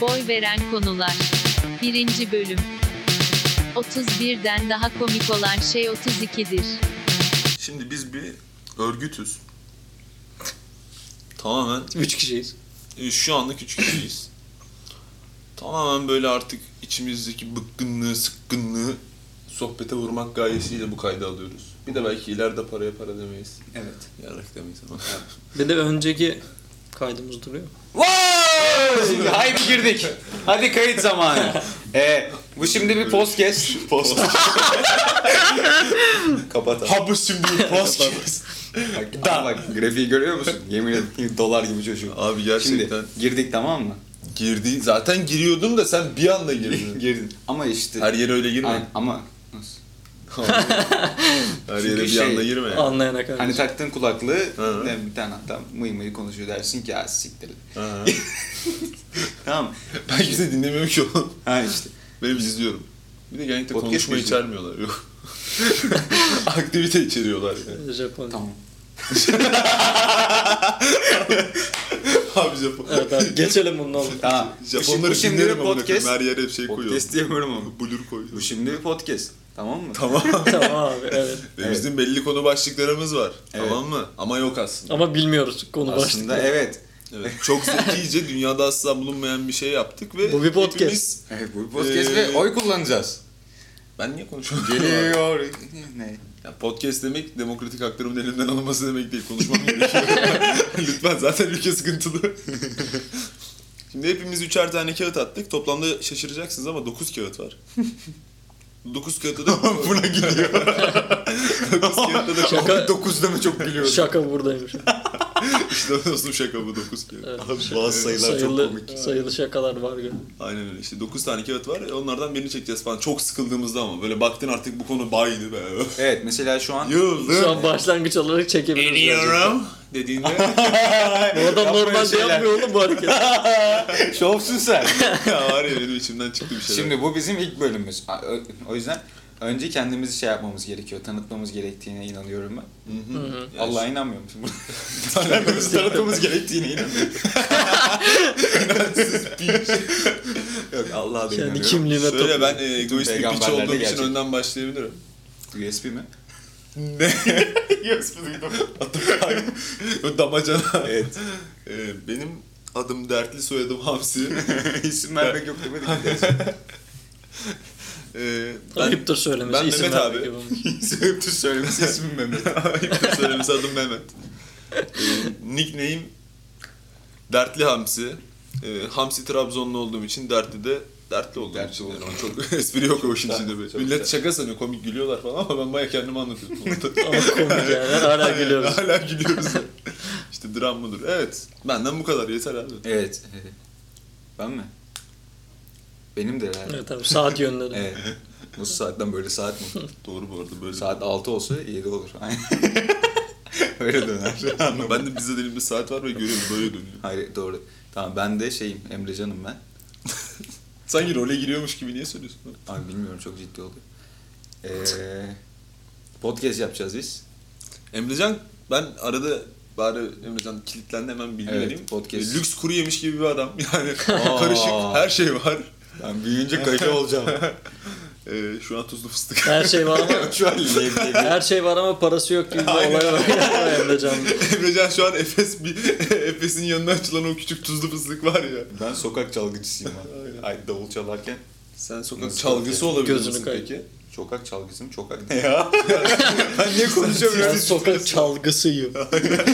Boy veren konular. 1. bölüm. 31'den daha komik olan şey 32'dir. Şimdi biz bir örgütüz. Tamamen Üç kişiyiz. e, şu anda küçük kişiyiz. Tamamen böyle artık içimizdeki bıkkınlığı, sıkkınlığı sohbete vurmak gayesiyle bu kaydı alıyoruz. Bir de belki ileride paraya para demeyiz. Evet. Yarrak demeyiz ama. Bir de önceki kaydımız duruyor. Şimdi haydi girdik. Hadi kayıt zamanı. Ee, bu şimdi bir podcast. Post. Kapat abi. Habı şimdi post. Bak, daha bak grafiği görüyor musun? Yemin ederim dolar gibi çocuk. Abi Şimdi gerçekten girdik tamam mı? girdi. Zaten giriyordum da sen bir anda girdin. Girdin. Ama işte. Her yere öyle girme. Aynen, ama nasıl? Her yere Çünkü bir şey- anda girme. yani. Anlayana kadar. Hani taktığın kulaklığı Hı. ne, bir tane adam mıy mıy konuşuyor dersin ki ya siktir. Ha. Tamam mı? ben kimse dinlemiyorum ki oğlum. Ha işte. Ben izliyorum. Bir de genellikle Podcast konuşma izliyor. içermiyorlar. Yok. Aktivite içeriyorlar yani. Japon. Tamam. Abi Japon. Evet abi geçelim bunun oğlum. Tamam. Japonları Bu şimdi dinlerim bir ama podcast. her yere hep şey koyuyor. Podcast diyemiyorum ama. Blur koyuyor. Bu şimdi bir podcast. Tamam mı? Tamam. tamam abi evet. Ve Bizim belli konu başlıklarımız var. Tamam mı? Ama yok aslında. Ama bilmiyoruz konu Aslında başlığı. evet. Evet. Çok zekice dünyada asla bulunmayan bir şey yaptık ve Bu bir podcast. hepimiz- Evet bu bir podcast Ee, ve oy kullanacağız. Ben niye konuşuyorum? Geliyor. ne? Ya podcast demek demokratik haklarımın elimden alınması demek değil. Konuşmam gerekiyor. Lütfen zaten ülke sıkıntılı. Şimdi hepimiz üçer tane kağıt attık. Toplamda şaşıracaksınız ama 9 kağıt var. 9 kağıtta da buna gidiyor. 9 kağıtta da Şaka- Abi dokuz deme çok biliyorum. Şaka buradaymış. işte dostum şaka bu 9 kağıt. Evet. bazı sayılı, sayılı şakalar var galiba. Aynen öyle. İşte 9 tane kağıt var. E, Onlardan birini çekeceğiz falan. Çok sıkıldığımızda ama böyle baktın artık bu konu baydı be. Evet mesela şu an Yıldım. Şu an başlangıç olarak çekebiliriz. gerçekten. Ediyorum dediğinde Bu adam Yapma öyle normalde şeyler. yapmıyor oğlum bu hareketi. şovsun sen. ya var ya benim içimden çıktı bir şeyler. Şimdi bu bizim ilk bölümümüz. A- ö- O yüzden önce kendimizi şey yapmamız gerekiyor. Tanıtmamız gerektiğine inanıyorum ben. Hı Hı hı. hı. Yani Allah'a inanmıyorum şimdi. Kendimizi tanıtmamız gerektiğine inanıyorum. şey. Yok Allah'a da Kendi inanıyorum. kimliğine Şöyle tapıyor. ben e, egoist bir piç Peygamberler de olduğum için gerçek. önden başlayabilirim. USB mi? Ne? Yes duydum. Adım damacana. Evet. E, benim adım Dertli, soyadım Hamsi. İsim vermek yok demedik. E, ben Ayıptır söylemesi. ben isim Mehmet vermek abi. gibi olmuş. Söyleyip söylemesi ismim Mehmet. ayıptır söylemesi adım Mehmet. E, nickname Dertli Hamsi. E, Hamsi Trabzonlu olduğum için Dertli de Dertli olduğum Dertli için. olduğum Yani ama çok espri yok o işin Çok içinde. güzel, çok Millet güzel. şaka sanıyor, komik gülüyorlar falan ama ben baya kendimi anlatıyorum. Ama komik yani. Hala Aynen, gülüyoruz. Hala gülüyoruz. işte dram mıdır? Evet. Benden bu kadar yeter abi. Evet. evet. Ben mi? Benim de herhalde. Evet abi saat yönleri. Evet. Bu saatten böyle saat mi? Doğru bu arada böyle. Saat 6 olsa 7 olur. Öyle döner. Ama ben de bize de elimde saat var ve görüyorum böyle dönüyor. Hayır doğru. Tamam ben de şeyim Emrecan'ım ben. Sanki role giriyormuş gibi niye söylüyorsun? Abi bilmiyorum çok ciddi oldu. Ee, podcast yapacağız biz. Emrecan ben arada bari Emrecan kilitlendi hemen bilgi Evet, vereyim. podcast. E, Lüks kuru yemiş gibi bir adam. Yani Aa. karışık her şey var. Ben büyüyünce kayıtlı olacağım. E, şu an tuzlu fıstık. Her şey var ama Şu an lev lev. her şey var ama parası yok gibi bir olay var. Emre Can. Emrecan şu an Efes bir Efes'in yanına açılan o küçük tuzlu fıstık var ya. Ben sokak çalgıcısıyım Aynen. ben. Ay davul çalarken Sen sokak Nasıl çalgısı çalgı? olabilir Gözünü misin kay- peki? sokak çalgısı mı? Sokak ne ya? ben niye konuşuyorum Ben ya? sokak çalgısıyım.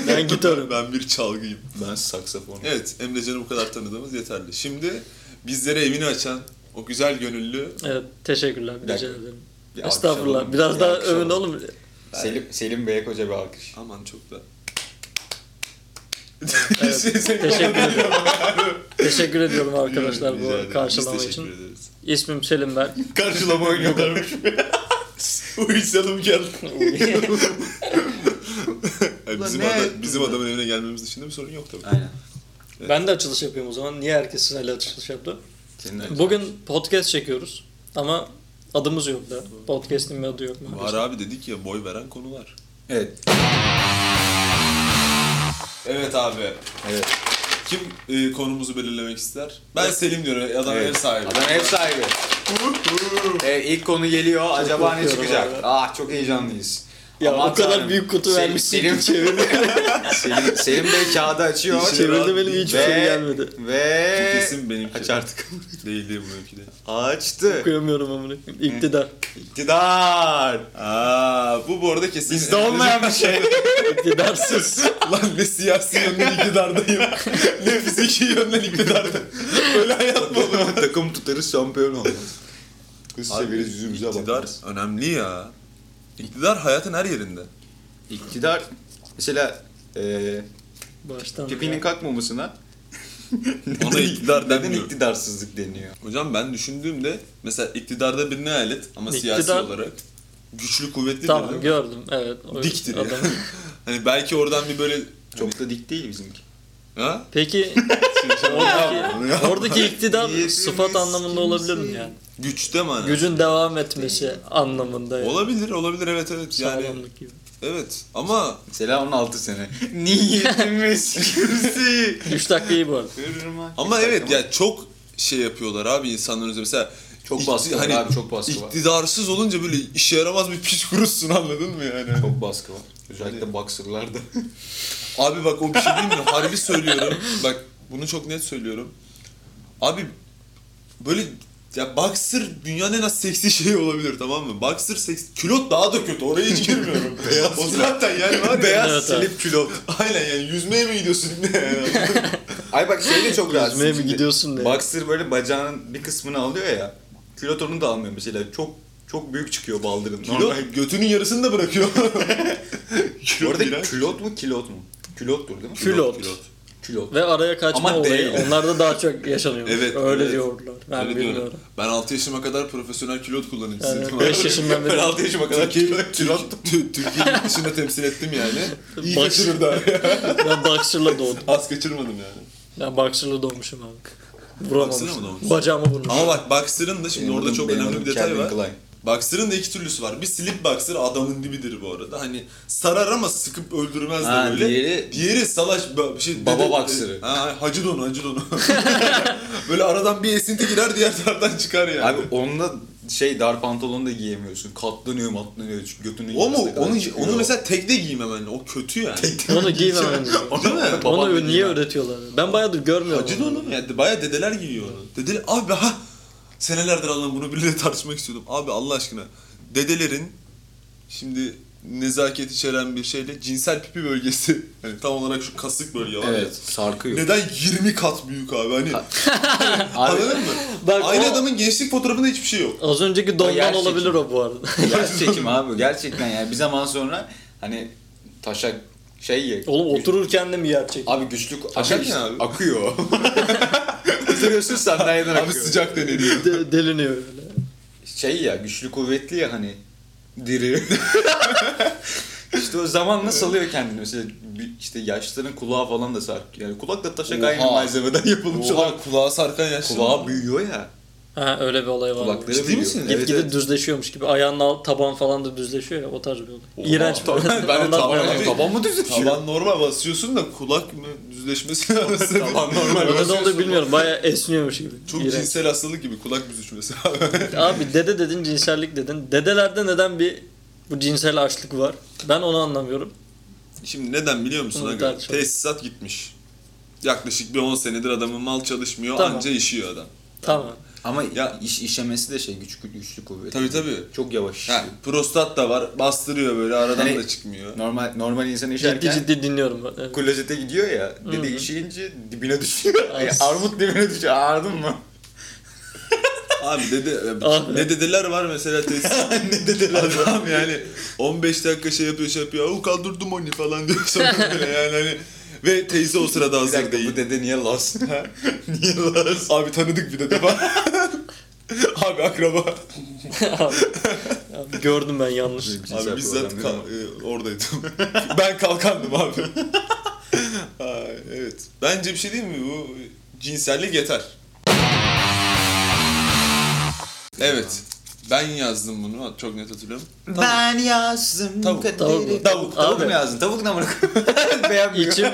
ben gitarım. Ben bir çalgıyım. Ben saksafon. Evet, Emrecan'ı bu kadar tanıdığımız yeterli. Şimdi bizlere evini açan o güzel gönüllü Evet teşekkürler. Bir dakika. Rica ederim. Bir alkış Estağfurullah. alalım. Biraz Bir daha alkış övün alalım. oğlum. Selim, Selim Bey'e koca bir alkış. aman çok da Evet, teşekkür ederim. teşekkür ediyorum arkadaşlar Rica ederim. bu karşılama Biz teşekkür için. ederiz. İsmim Selim Berk. Karşılama oynuyorlarmış. Uyuşalım gel. Yani bizim, ne adam- yaptın bizim lan? adamın evine gelmemiz dışında bir sorun yok tabii. Aynen. ben de açılış yapıyorum o zaman. Niye herkes sizinle açılış yaptı? Senin de- Bugün podcast çekiyoruz ama adımız yok da. Podcast'in bir adı yok Var maalesef. abi dedik ya boy veren konular. Evet. Evet abi. Evet. Kim e, konumuzu belirlemek ister? Ben Selim diyorum. Adam Evet. ev sahibi. Adam ev sahibi. Evet, ilk konu geliyor. Acaba ne korkuyorum çıkacak? abi. Ah çok heyecanlıyız. Ya Aman o kadar tanrım. büyük kutu Se- vermişsin Selim, ki çevirdi. Selim, Selim Bey kağıdı açıyor. çevirdi benim hiçbir şey gelmedi. Ve Bu kesin şey. benimki. Aç artık. Değil değil bununki de. Açtı. Okuyamıyorum amına koyayım. İktidar. İktidar. Aa, bu bu arada kesin. Bizde olmayan bir şey. İktidarsız. Lan ne siyasi yönden iktidardayım. ne fiziki yönden iktidardayım. Böyle hayat mı olur? Takım tutarız şampiyon olmaz. Kız çeviririz yüzümüze İktidar bakmaz. önemli ya. İktidar hayatın her yerinde. İktidar. Mesela eee Baştan. pipinin kalkmamasına Ona iktidar neden denmiyor. iktidarsızlık deniyor? Hocam ben düşündüğümde mesela iktidarda bir ne alet ama siyasi İktidar- olarak güçlü kuvvetli Tamam bir gördüm evet. O Diktir ya. adam- Hani belki oradan bir böyle Çok da dik değil bizimki. ha? Peki Ya. oradaki, oradaki iktidar Yetimiz sıfat anlamında olabilir mi yani? güçte mi hani? Gücün devam etmesi anlamında yani. Olabilir, olabilir evet evet yani Sağlamlık gibi. evet ama Mesela 16 sene. Niyetimiz kimseyi 3 dakika iyi bu arada. kırmak. ama evet ya çok şey yapıyorlar abi insanların üzerine mesela Çok ikti- baskı var abi, çok baskı var. iktidarsız olunca böyle işe yaramaz bir piç kurusun anladın mı yani? Çok baskı var. Özellikle boxer'larda. Abi bak o bir şey değil mi? Harbi söylüyorum. Bak bunu çok net söylüyorum. Abi böyle ya boxer dünyanın en az seksi şeyi olabilir tamam mı? Boxer seks külot daha da kötü. Oraya hiç girmiyorum. Beyaz o zaten yani var ya. Evet, silip külot. Aynen yani yüzmeye mi gidiyorsun ne? yani? Ay bak şey de çok rahatsız. Yüzmeye mi edici. gidiyorsun ne? Boxer böyle bacağının bir kısmını alıyor ya. Külot onu da almıyor mesela. Çok çok büyük çıkıyor baldırın. külot Normal. götünün yarısını da bırakıyor. Bu külot arada iğrenç. külot mu kilot mu? Külottur değil mi? Kül- Külot. Külot. Ve araya kaçma Ama olayı. değil. Onlarda daha çok yaşanıyor. Evet, Öyle evet. diyorlar. Ben Öyle diyorum. bilmiyorum. Ben 6 yaşıma kadar profesyonel külot kullanıcısıydım. Yani 5 yaşından Ben beri 6 yaşıma kadar Türkiye'yi külot. külot Türkiye'yi yurt dışında temsil ettim yani. İyi Bak- kaçırırdı abi. ben boxer'la doğdum. Az kaçırmadım yani. Ben boxer'la doğmuşum abi. Boxer'la mı Vuramamışım. doğmuşsun? Bacağımı vurmuşum. Ama bak Boxer'ın da şimdi Benim orada adım- çok benim önemli adım bir detay Calvin var. Klein. Boxer'ın da iki türlüsü var. Bir slip boxer adamın dibidir bu arada. Hani sarar ama sıkıp öldürmez de Ha, böyle. diğeri- diğeri salaş ba- bir şey Baba dede- boxer'ı. Ha, hacı donu, hacı donu. böyle aradan bir esinti girer diğer taraftan çıkar yani. Abi onunla şey dar pantolon da giyemiyorsun. Katlanıyor matlanıyor. Çünkü götünün o mu? yarısına kadar Onu, çıkıyor. onu mesela tekde giymem ben. O kötü yani. Onu giymem. Değil mi? Babam da Onu niye giyemem. öğretiyorlar? Ben bayağıdır görmüyorum. Hacı onu. donu mu? Yani baya dedeler giyiyor onu. Dede abi ha senelerdir Allah'ım bunu biriyle tartışmak istiyordum. Abi Allah aşkına dedelerin şimdi nezaket içeren bir şeyle cinsel pipi bölgesi. Hani tam olarak şu kasık bölge var Evet ya. sarkıyor. Neden 20 kat büyük abi hani Abi, anladın mı? Bak Aynı o- adamın gençlik fotoğrafında hiçbir şey yok. Az önceki dondan gerçek. olabilir o bu arada. Gerçekim abi gerçekten yani bir zaman sonra hani taşak şey ye. Oğlum otururken de mi gerçek? Abi güçlük Taşak abi, ne abi? akıyor. Oturuyorsun sandalyeden akıyor. Abi sıcak deniliyor. De- deliniyor öyle. Şey ya güçlü kuvvetli ya hani diri. işte o zamanla salıyor kendini mesela bir- işte yaşların kulağı falan da sarkıyor. Yani kulak da taşak Oha. aynı malzemeden yapılmış olan. Oha kulağa sarkan yaşlı. Kulağı büyüyor ya. Ha öyle bir olay var. Kulakları Ciddi büyüyor. misin? Gitgide düzleşiyormuş gibi. Ayağın alt taban falan da düzleşiyor ya. O tarz bir olay. İğrenç bir olay. Ben de Anlatmayalım. taban, taban mı düzleşiyor? Taban normal basıyorsun da kulak mı düzleşmesi lazım. Taban normal. Öyle de oldu bilmiyorum. Bayağı esniyormuş gibi. Çok İğrenç. cinsel hastalık gibi kulak büzüşmesi abi. Abi dede dedin cinsellik dedin. Dedelerde neden bir bu cinsel açlık var? Ben onu anlamıyorum. Şimdi neden biliyor musun Bunu aga? tartışalım. Tesisat gitmiş. Yaklaşık bir 10 senedir adamın mal çalışmıyor Tamam. anca işiyor adam. Tamam. Ama Ya- iş, işemesi de şey güç, güçlü kuvvetli. Tabii, tabii. Çok yavaş işiyor. Ha, prostat da var bastırıyor böyle aradan Hani- da çıkmıyor. Normal normal insan Ciddi işerken ciddi dinliyorum. ben. Evet. klozete gidiyor ya. Dede işeyince dibine düşüyor. Ay. Ya armut dibine düşüyor. Ağardın mı? Abi dede, Ah. ne dedeler var mesela tesisat. ne dediler? Adam yani 15 dakika şey yapıyor şey yapıyor. O kaldırdım onu falan diyor sonra böyle yani hani. Ve teyze o sırada Bir hazır dakika değil. bu dede niye las? niye las? Abi tanıdık bir dede var. Abi akraba. Abi, abi gördüm ben yanlış. şey Abi bizzat ka- e, oradaydım. ben kalkandım abi. Ha, evet. Bence bir şey değil mi bu cinsellik yeter. Evet. Ben yazdım bunu. Çok net hatırlıyorum. Ben yazdım Tavuk, kaderi. tavuk. Tavuk, tavuk Abi. mu yazdın? Tavuk ne amına koyayım? Beğenmiyor. İçim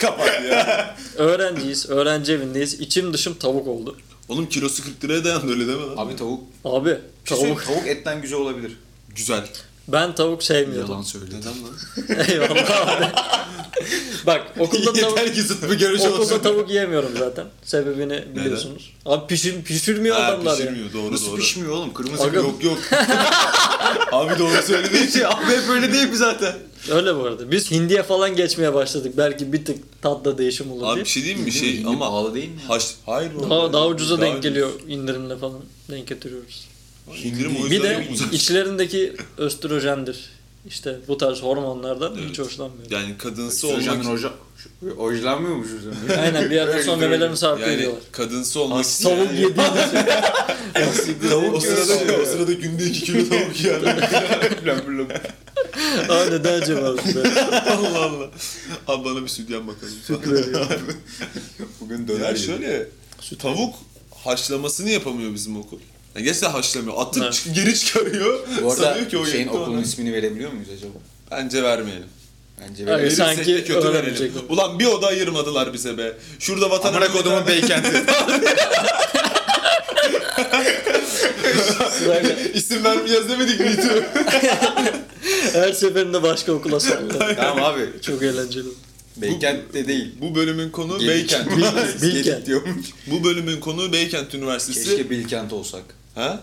Kapat ya. Öğrenciyiz, öğrenci evindeyiz. İçim dışım tavuk oldu. Oğlum kilosu 40 liraya dayandı öyle deme lan. Abi tavuk. Abi Bir şey söyleyeyim, tavuk. tavuk etten güzel olabilir. Güzel. Ben tavuk sevmiyordum. söyledim. Neden lan? Eyvallah abi. Bak okulda tavuk, Yeter ki zıt bir görüş olsun. okulda tavuk yiyemiyorum zaten. Sebebini biliyorsunuz. Abi pişir, pişirmiyor Ha, adamlar ya. pişirmiyor doğru Nasıl doğru. pişmiyor oğlum? Kırmızı Aga- Aga. Yok yok. Abi doğru söylediğin için. şey, Abi hep öyle değil mi zaten? Öyle bu arada. Biz hindiye falan geçmeye başladık. Belki bir tık tatla değişim olur Abi diye. bir şey diyeyim mi? Bir şey Hindi ama pahalı değil mi? haş... Hayır oğlum. Daha, daha ucuza denk ucuz. geliyor indirimle falan. Denk getiriyoruz. İndirim o Bir yüzden de yok mu? içlerindeki östrojendir. İşte bu tarz hormonlardan hiç hoşlanmıyorum. Yani kadınsı Soğucanın olmak... oja... Ojlanmıyor mu şu Aynen bir yerden sonra memelerini sarpıyor Yani diyorlar. kadınsı olmak... Tavuk yediğiniz için. O sırada, o sırada günde 2 kilo tavuk yani. Aa neden acaba? be? Allah Allah. Abi bana bir sütyen bakalım. Bugün Ya şöyle, tavuk haşlamasını yapamıyor bizim okul. Yani gerçekten haşlamıyor. Atıp Evet. çık- geri çıkarıyor. Bu Sanıyor arada ki o şeyin yetti okulun ona. ismini verebiliyor muyuz acaba? Bence vermeyelim. Bence Hayır. verebiliriz. Verirsek de sanki kötü verelim. öğrenmeyecek. Ulan bir oda ayırmadılar bize be. Şurada vatan Amına hakkı kodumun tane- beykenti. Sırayla İsim vermeyeceğiz demedik miydi? Her seferinde başka okula sallıyor. tamam abi. Çok eğlenceli. Beykent de değil. Bu bölümün konu Beykent. Beykent. Bilkent. Bilkent diyormuş. Bu bölümün konu Beykent Üniversitesi. Keşke Bilkent olsak. Ha?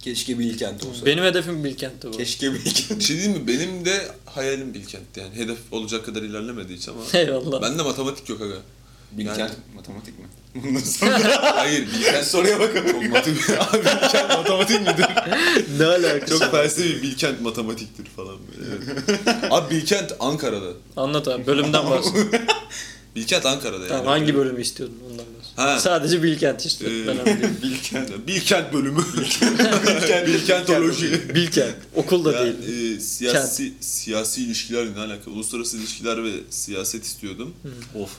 Keşke Bilkent olsak. Benim hedefim Bilkent'ti bu. Keşke Bilkent. Bir şey diyeyim mi? Benim de hayalim Bilkent'ti yani. Hedef olacak kadar ilerlemedi hiç ama. Eyvallah. Bende matematik yok aga. Bilkent Yani- matematik mi? Hayır Bilkent soruya bakalım. Matematik, abi Bilkent matematik midir? Ne alakası? Çok felsefi Bilkent matematiktir falan böyle. evet. Abi Bilkent Ankara'da. Anlat abi bölümden bahset. Bilkent Ankara'da yani. tamam, hangi bölümü istiyordun ondan bahset. Ha. Sadece Bilkent istiyordum. Ee, Ben anlıyorum. Bilkent. Bilkent bölümü. Bilkent. Bilkentoloji. Bilkent. Okul da Ben değil. e, siyasi siyasi ilişkilerle ne alakalı? Uluslararası ilişkiler ve siyaset istiyordum. of.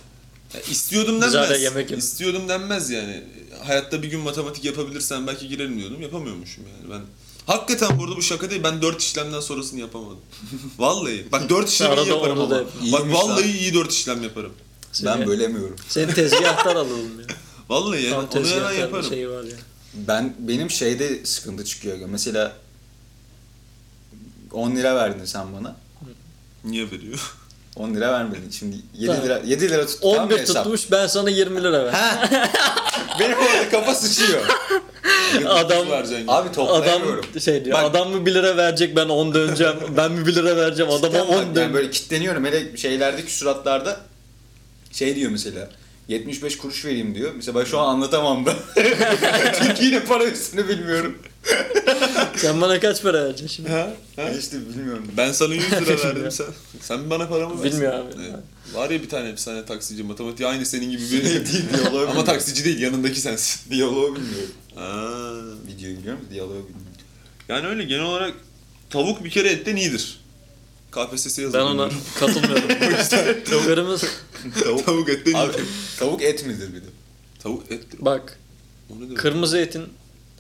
Ya istiyordum Hmm. Güzel de denmez. yemek yap. istiyordum denmez yani. Hayatta bir gün matematik yapabilirsem belki girerim diyordum. Yapamıyormuşum yani ben. Hakikaten burada bu şaka değil. Ben dört işlemden sonrasını yapamadım. vallahi. Bak dört işlemi iyi Arada yaparım onu ama. da yap. Bak İyiymiş vallahi lan. iyi dört işlem yaparım. Seni, Ben bölemiyorum. Seni tezgahtar alalım ya. Vallahi yani Tam E, onu hemen tezgahtar bir şey yaparım. şeyi var ya. Ben benim şeyde sıkıntı çıkıyor. aga. Mesela 10 lira verdin sen bana. Niye veriyor? 10 lira vermedin. Şimdi 7 Tamam. lira 7 lira tuttu. tamam mı 11 hesap? tutmuş ben sana 20 lira ver. Ha. Benim orada kafa sıçıyor. Adam- Vereceksin. Abi Adam toplayamıyorum. şey diyor. Bak- Adam mı 1 lira verecek ben 10 döneceğim. ben mi 1 lira vereceğim adama Adam 10 on döneceğim. yani böyle kitleniyorum. Hele şeylerdeki suratlarda şey diyor mesela. 75 kuruş vereyim diyor. Mesela ben şu an anlatamam da. Çünkü yine para üstünü bilmiyorum. Sen bana kaç para vereceksin şimdi? Ha? Ha? Ben işte bilmiyorum. Ben sana 100 lira verdim sen. Sen bana paramı versin. Bilmiyorum abi. Ee, Var ya bir tane efsane taksici matematiği aynı senin gibi biri. şey değil diyaloğu Ama taksici değil yanındaki sensin. Diyaloğu bilmiyorum. Aa. Videoyu biliyor musun? Diyaloğu bilmiyorum. Yani öyle genel olarak tavuk bir kere etten iyidir. KPSS Ben yazılıyor. ona katılmıyorum. Kırmızı tavuk, tavuk etten Abi iyidir. tavuk et midir bir de? Tavuk ettir. bak O ne demek? kırmızı etin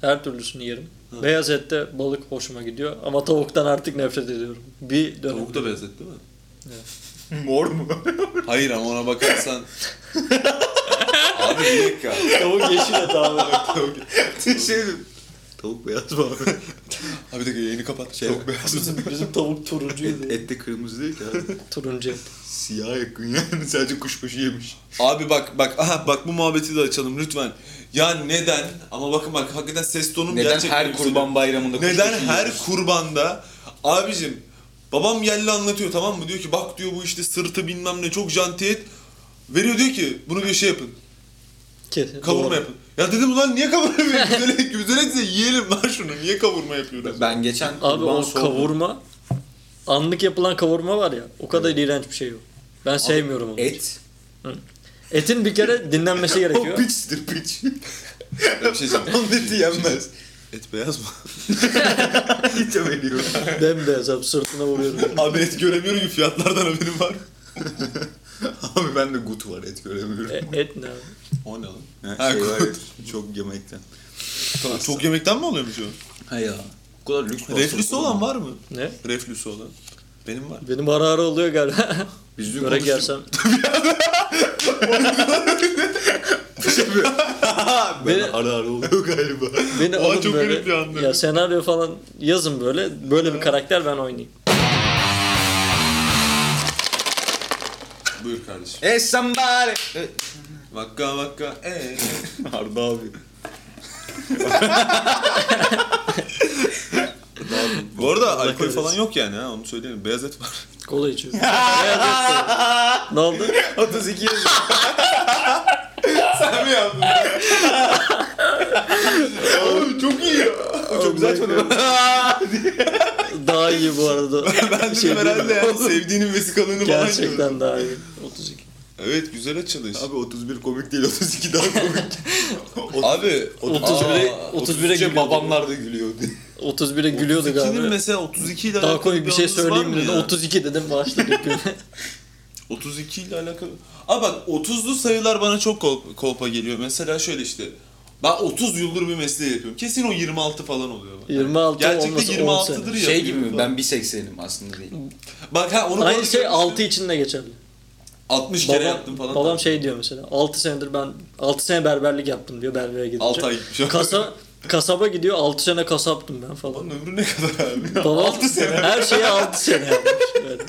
her türlüsünü yerim. Beyaz ette balık hoşuma gidiyor ama tavuktan artık nefret ediyorum. Bir dönem. Tavuk da beyaz et değil mi? Mor mu? Hayır ama ona bakarsan... Abi bir dakika. Tavuk yeşil et abi. Tavuk, şey Tavuk beyaz mı abi? abi bir dakika yayını kapat. Şey- tavuk beyaz et. Bizim, bizim tavuk turuncuydu. Et, et de kırmızı değil ki abi. Turuncu et. Siyah yakın yani sadece kuşbaşı yemiş. Abi bak bak aha bak bu muhabbeti de açalım lütfen. Ya neden? Ama bakın bak hakikaten ses tonum Neden gerçekten her yükseliyor. kurban bayramında kuşbaşı Neden her yiyoruz? kurbanda abicim babam geldi anlatıyor tamam mı? Diyor ki bak diyor bu işte sırtı bilmem ne çok janti et. Veriyor diyor ki bunu diyor şey yapın. Kesin. Kavurma Doğru. yapın. Ya dedim ulan niye kavurma yapıyorsun? Güzel et, güzel etse yiyelim lan şunu. Niye kavurma yapıyoruz? Ben geçen Abi kurban o sordum. kavurma anlık yapılan kavurma var ya o kadar iğrenç bir şey yok. Ben sevmiyorum onu. Et. Etin bir kere dinlenmesi gerekiyor. piçtir piç. Ben bir şey söyleyeyim. Onun eti yenmez. Et beyaz mı? Hiç veriyor. Bembeyaz abi sırtına vuruyorum. Abi et göremiyorum ki fiyatlardan haberim var. Abi bende gut var et göremiyorum. E, et ne abi? O ne lan? Ha, şey var ya, çok yemekten. Çok yemekten mi oluyormuş o? Ha ya. Bu kadar lüks Reflüsü olan var mı? Ne? Reflüsü olan. Benim var. Benim ara ara oluyor galiba. Biz dün Börek konuştuk. yersem. ben Beni- ara ara oluyor galiba. Beni Oha, alın çok böyle. garip bir anda. Ya senaryo falan yazın böyle. Böyle bir karakter ben oynayayım. Buyur kardeşim. Hey somebody. Vakka vakka eh. eee. Arda abi. Bu arada alkol kahretsin. falan yok yani ha onu söyleyelim. Beyaz et var. Kola içiyorum. Beyaz et kola. ne oldu? 32 yaş. Sen mi yaptın? Oğlum çok iyi ya. Çok güzel tanıyor. Daha iyi bu arada. Ben Şey dedim herhalde yani diyemem. sevdiğinin vesikalığını falan gördüm. Gerçekten daha iyi. 32. Evet güzel açılış. Abi 31 komik değil 32 daha komik. Abi 31'e 31'e 33'e gülüyordu. babamlar da gülüyordu. 31'e gülüyorduk Kimin abi. mesela 32 ile Daha alakalı komik bir şey anınız var söyleyeyim mı mi dedim. ya? 32 dedim başladık. 32 ile alakalı. Abi bak 30'lu sayılar bana çok kol- kolpa geliyor. Mesela şöyle işte. Ben 30 yıldır bir mesleği yapıyorum. Kesin o 26 falan oluyor. bak. Hani 26 olması Gerçekte 26 26'dır ya. Şey gibi mi? Ben 1.80'im aslında değil. Bak ha onu bana Aynı şey görmüştüm. 6 için de geçerli. 60 kere yaptım Babam, falan. babam şey diyor mesela. 6 senedir ben 6 sene berberlik yaptım diyor berbere gidince. 6 ay gitmiş. Kasa, kasaba gidiyor 6 sene kasaptım ben falan. Onun ömrü ne kadar abi? Babam 6 sene. her şeye 6 sene yapmış. Evet.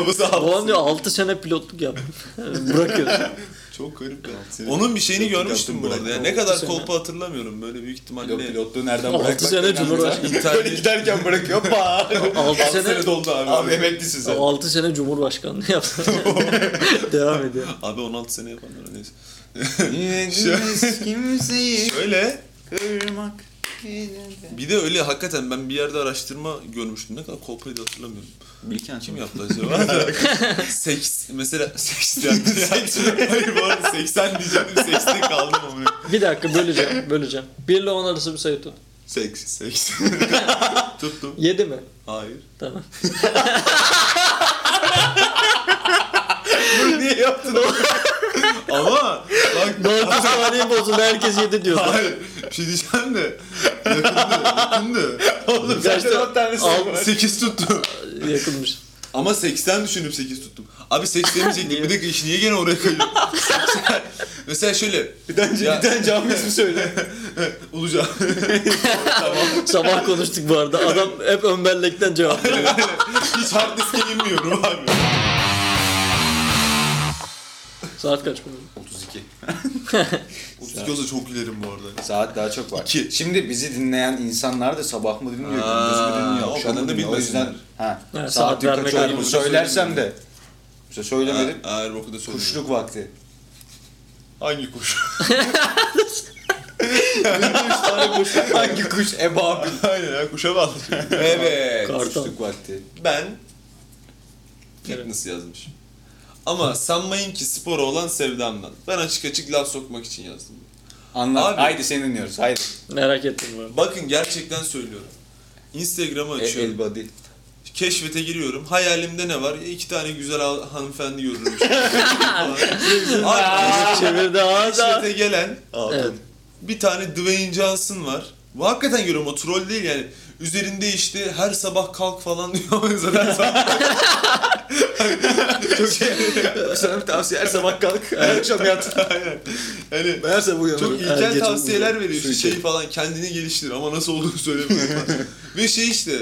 Babası 6 Babam diyor 6 sene pilotluk yaptım. Bırakıyorsun. Çok garip ya. sene. Onun bir şeyini Pilotluk görmüştüm yaptım, bu arada. ya. bıraktım. Ne kadar sene. kolpa hatırlamıyorum. Böyle büyük ihtimalle. Yok pilotluğu nereden Altı bırakmak? sene önemli zaten. Cumhurbaşkanı. Böyle giderken bırakıyor. Pa. 6 Altı sene sene doldu abi. abi emeklisin sen. 6 sene Cumhurbaşkanlığı yaptım. Devam ediyor. Abi 16 sene yapanlar neyse. Yediğimiz kimseyi Şöyle kırmak. bir de öyle hakikaten ben bir yerde araştırma görmüştüm. Ne kadar kolpaydı hatırlamıyorum. Bilken Kim yaptı acaba? seks mesela seks şey. yani. Hayır bu arada 80 diyecektim. Sekste kaldım ama. Bir dakika böleceğim, böleceğim. 1 ile 10 arası bir sayı tut. Seks. Seks. Tuttum. 7 mi? Hayır. Tamam. Niye yaptın onu? Ama bak 4 saniye bozuldu herkes 7 diyordu. hayır. Bir şey diyeceğim de. Yakındı. Yakındı. Kaçta? dört tane sayı Alt- var. 8 tuttum. Yakınmış. Ama 80 düşünüp 8 tuttum. Abi 80 demeyecektim. bir dakika iş niye gene oraya kayıyor? 80. Mesela şöyle. Bir tane, Ya- bir tane cami ismi söyle. Olacağım. Sabah konuştuk bu arada. Adam hep ön bellekten cevap veriyor. Hiç hard diske inmiyorum abi. Saat kaç bugün? 32. 32 olsa çok gülerim bu arada. Saat daha çok var. İki. Şimdi bizi dinleyen insanlar da sabah mı dinliyor, gündüz Aa, mü dinliyor, o akşam kadarını mı dinliyor. O bilmesinler. yüzden ha, Evet, saat saatin vermek kaç lazım. olduğunu söylersem de. Mesela söylemedim. Ha, Eğer boku da söyledim. Kuşluk vakti. Hangi kuş? Hangi kuş? Ebabil. Aynen ya kuşa bağlı. evet. Kartal. Kuşluk vakti. Ben fitness yazmış. Ama sanmayın ki spora olan sevdamdan. Ben açık açık laf sokmak için yazdım. Anlat. Abi. Haydi seni dinliyoruz. Haydi. Merak ettim bu arada. Bakın gerçekten söylüyorum. Instagram'ı E, açıyorum. el body. Keşfete giriyorum. Hayalimde ne var? Ya İki tane güzel ha- hanımefendi görürüm. işte. Abi, Çevirdi ağza. keşfete gelen Evet. bir tane Dwayne Johnson var. Bu hakikaten görüyorum o troll değil yani. Üzerinde işte her sabah kalk falan diyor. Zaten sabah- Çok şey. Sana bir tavsiye. Her sabah kalk. Her akşam yat. Aynen. Yani Ben her sabah uyanırım. hani Çok Her ilkel gece tavsiyeler uyuyorum, veriyor su işte şey içerim. falan kendini geliştir ama nasıl olduğunu söylemiyor falan. Ve şey işte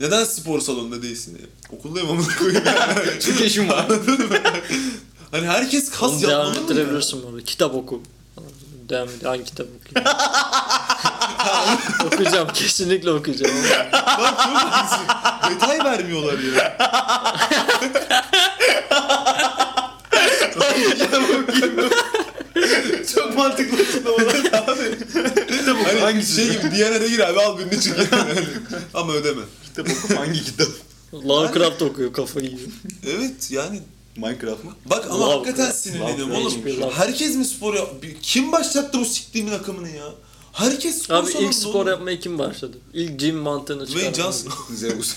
neden spor salonunda değilsin diye. Okuldayım amına koyayım. Çünkü işim var. hani herkes Onu kas devam yapmalı mı? ya? ettirebilirsin bu arada. Kitap oku. Devam et. Hangi kitap okuyayım? okuyacağım. Kesinlikle okuyacağım. Bak çok haklısın. Detay vermiyorlar ya. Çok mantıklı açıklamalar. Hani Hangisi? şey gibi Diyanet'e gir abi al birini çık. Yani. ama ödeme. Kitap oku. Hangi kitap? Lovecraft okuyor kafayı yiyor. Evet yani Minecraft mı? Bak ama Love hakikaten ya. sinirleniyorum Love ya, hiçbir oğlum. love. Herkes mi spor yap... Bir- Kim başlattı bu siktiğimin akımını ya? Herkes spor Abi salonunda ilk spor oğlum. yapmaya kim başladı? İlk gym mantığını çıkardı. Dwayne Johnson. Zeus.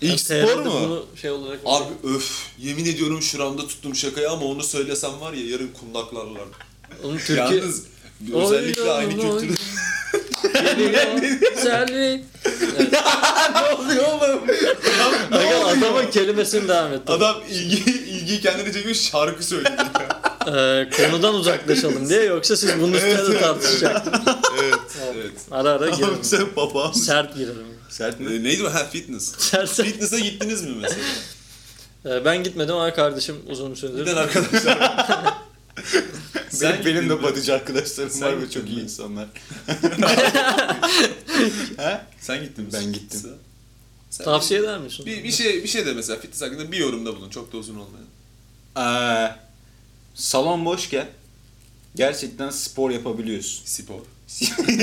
İlk spor mu? Bunu şey olarak Abi öf yemin ediyorum şuramda tuttum şakayı ama onu söylesem var ya yarın kundaklarlar. Onun Türkiye... Yalnız özellikle Oy, aynı oy, oy. kültürde Selvi. ne oluyor oğlum? Aga adamın kelimesini devam et. Adam ilgi, ilgiyi kendine çekmiş şarkı söylüyor. Ee, konudan uzaklaşalım diye yoksa siz bunun üstüne de tartışacaktınız. evet. evet. Ara ara girelim. Abi sen papağan. Sert girelim. Sert mi? Ee, neydi o? Ha fitness. Sert sert. Fitness'a gittiniz mi mesela? Ee, ben gitmedim ama kardeşim uzun süredir. Giden arkadaşlar. Sen Benim, benim de gittin mi? batıcı arkadaşlarım Sen var ve gittin çok iyi mi? insanlar. ha? Sen gittin mi? Ben gittim. Sen- Sen- Tavsiye eder misin? Bir, bir şey bir şey de mesela fitness hakkında bir yorumda bulun. Çok da uzun olmayan. Ee, salon boşken gerçekten spor yapabiliyorsun. Spor.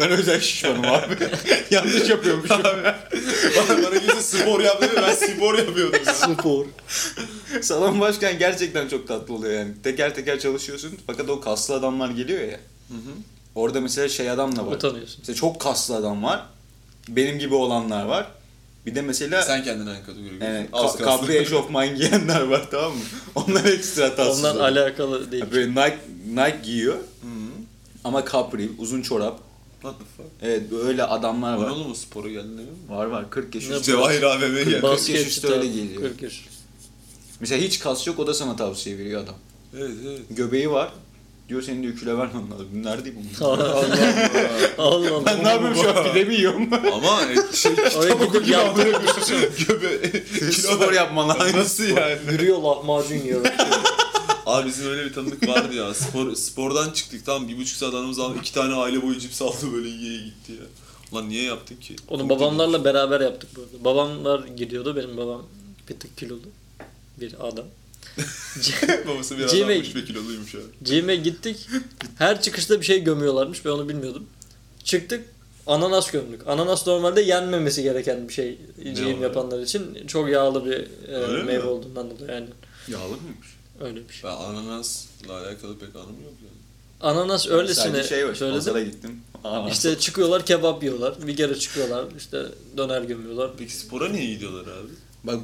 ben özel şişmanım abi. Yanlış yapıyormuşum. bana, bana kimse spor yap dedi ben spor yapıyordum. Spor. salon boşken gerçekten çok tatlı oluyor yani. Teker teker çalışıyorsun fakat o kaslı adamlar geliyor ya. Orada mesela şey adam da var. Utanıyorsun. Mesela çok kaslı adam var. Benim gibi olanlar var. Bir de mesela e, Sen kendine aynı kategori görüyorsun. yani, Az ka- kaslı. kapri eşofman giyenler var tamam mı? Onlar ekstra tatsız. Ondan oluyor. alakalı değil. Böyle Nike, Nike giyiyor Hı. ama kapri, uzun çorap. What the fuck? Evet öyle adamlar Bana var. oğlum o spora geldin demiyor musun? Var var 40 yaş Ne üstü. Cevahir AVM'ye geldi. Bas- Basketçi üstü de öyle geliyor. 40 yaş. Mesela hiç kas yok o da sana tavsiye veriyor adam. Evet evet. Göbeği var. Diyor senin diyor kilo vermen lazım. Nerede bu? Allah Allah. Allah Allah. Ben ne yapıyorum şu an pide mi yiyorum? Ama e, şey Oraya gidip yandırıyor. göbe kilo Spor ver. yapman lazım. Nasıl yani? Yürüyor lahmacun yiyor. Abi bizim öyle bir tanıdık vardı ya. Spor, spordan çıktık tamam bir buçuk saat anamız aldı. iki tane aile boyu cips aldı böyle yiye gitti ya. Ulan niye yaptık ki? Onu babamlarla beraber yaptık bu arada. Babamlar gidiyordu. Benim babam bir tık kilolu bir adam. Babası bir Cime- adammış ve kiloluymuş ya. Gym'e gittik. Her çıkışta bir şey gömüyorlarmış. Ben onu bilmiyordum. Çıktık. Ananas gömdük. Ananas normalde yenmemesi gereken bir şey gym oluyor? yapanlar için. Çok yağlı bir e, Öyle mi? meyve olduğundan dolayı. Yani Yağlı mıymış? öyle bir şey. Ben ananasla alakalı pek anım yok yani. Ananas öylesine Sadece şey var. söyledim. Pazara gittim. Aa, İşte çıkıyorlar kebap yiyorlar. Bir kere çıkıyorlar işte döner gömüyorlar. Peki spora niye gidiyorlar abi? Bak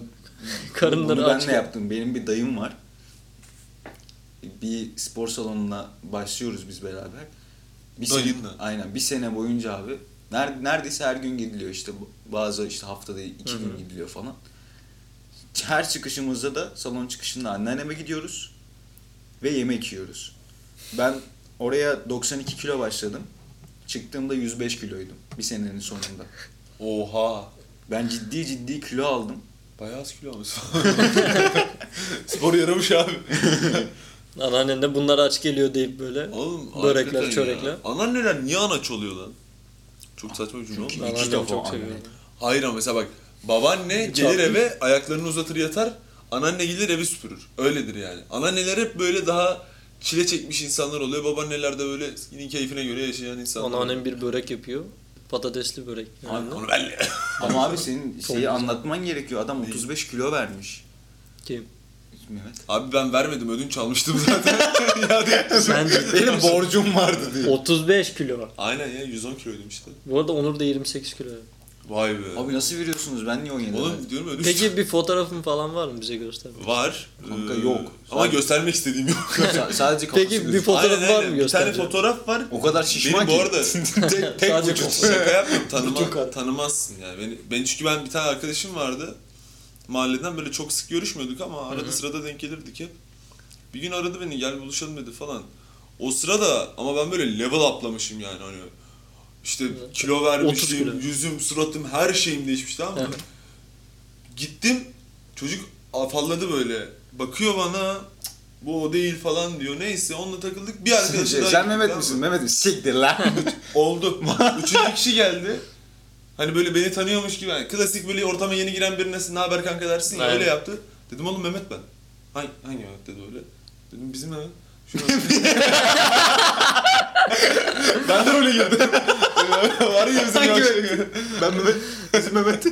Karınları Bunu ben aç. de yaptım. Benim bir dayım var. Bir spor salonuna başlıyoruz biz beraber. Bir sene- Dayınla. aynen bir sene boyunca abi. Ner- neredeyse her gün gidiliyor işte. Bazı işte haftada iki Hı hı. gün gidiliyor falan. Her çıkışımızda da salon çıkışında anneanneme gidiyoruz. Ve yemek yiyoruz. Ben oraya 92 kilo başladım. Çıktığımda 105 kiloydum. Bir senenin sonunda. Oha. Ben ciddi ciddi kilo aldım. Bayağı az kilo almış. Spor yaramış abi. Anneannen de bunlar aç geliyor deyip böyle. Oğlum Börekler, hakikaten ya. çörekler. Anneanneler niye anaç oluyor lan? Çok saçma bir cümle oldu. Çünkü- iki Anneannemi defa çok anne. seviyorum. Hayır ama mesela bak babaanne Hiç gelir yaptın mı? eve ayaklarını uzatır yatar. Anneanne gelir evi süpürür. Öyledir yani. Anneanneler hep böyle daha çile çekmiş insanlar oluyor. Babaanneler de böyle yine keyfine göre yaşayan insanlar. Anneannem bir börek yapıyor. Patatesli börek. Yani Onu belli. Ama abi senin Çok şeyi güzel. anlatman gerekiyor. Adam 35 kilo vermiş. kim? Mehmet. Abi ben vermedim ödünç almıştım zaten. ya diye. Sen Benim borcum vardı diye. 35 kilo. Aynen ya 110 kiloydum işte. Bu arada Onur da 28 kilo. Vay be. Abi nasıl veriyorsunuz? Ben niye 17 Oğlum verdim? diyorum ödünç. Peki bir fotoğrafın falan var mı bize göster? Var. Ee, Kanka yok. Ama göstermek istediğim yok. Sa- sadece kafası Peki bir gözüküyor. fotoğraf Aynen, var aynen. mı Bir tane göstereceğim? fotoğraf var. O kadar şişman Benim ki. bu arada- tek, tek Sadece vücut. kafası. Şaka yapmıyorum. Bütün Tanıma, kat. tanımazsın yani. Beni, ben çünkü ben bir tane arkadaşım vardı. Mahalleden böyle çok sık görüşmüyorduk ama arada sırada denk gelirdik hep. Bir gün aradı beni gel buluşalım dedi falan. O sırada ama ben böyle level atlamışım yani hani. İşte kilo 30 kilo. vermişim, yüzüm, suratım, her şeyim değişmişti ama Evet. gittim çocuk afalladı böyle. Bakıyor bana "Cık, bu o değil falan diyor. Neyse onunla takıldık. Bir arkadaşı Şey, daha Sen gittik, Mehmet tamam mı? misin? Mehmet mi? Siktir lan. Oldu. Üçüncü kişi geldi. Hani böyle beni tanıyormuş gibi. yani klasik böyle ortama yeni giren birine ne haber kanka dersin ya Aynen. öyle yaptı. Dedim oğlum Mehmet ben. Hangi, hangi Mehmet dedi öyle. Dedim bizim Mehmet. Şu ben de öyle girdim. Var ya bizim Sanki yavaş- ben Mehmet. Bizim Mehmet.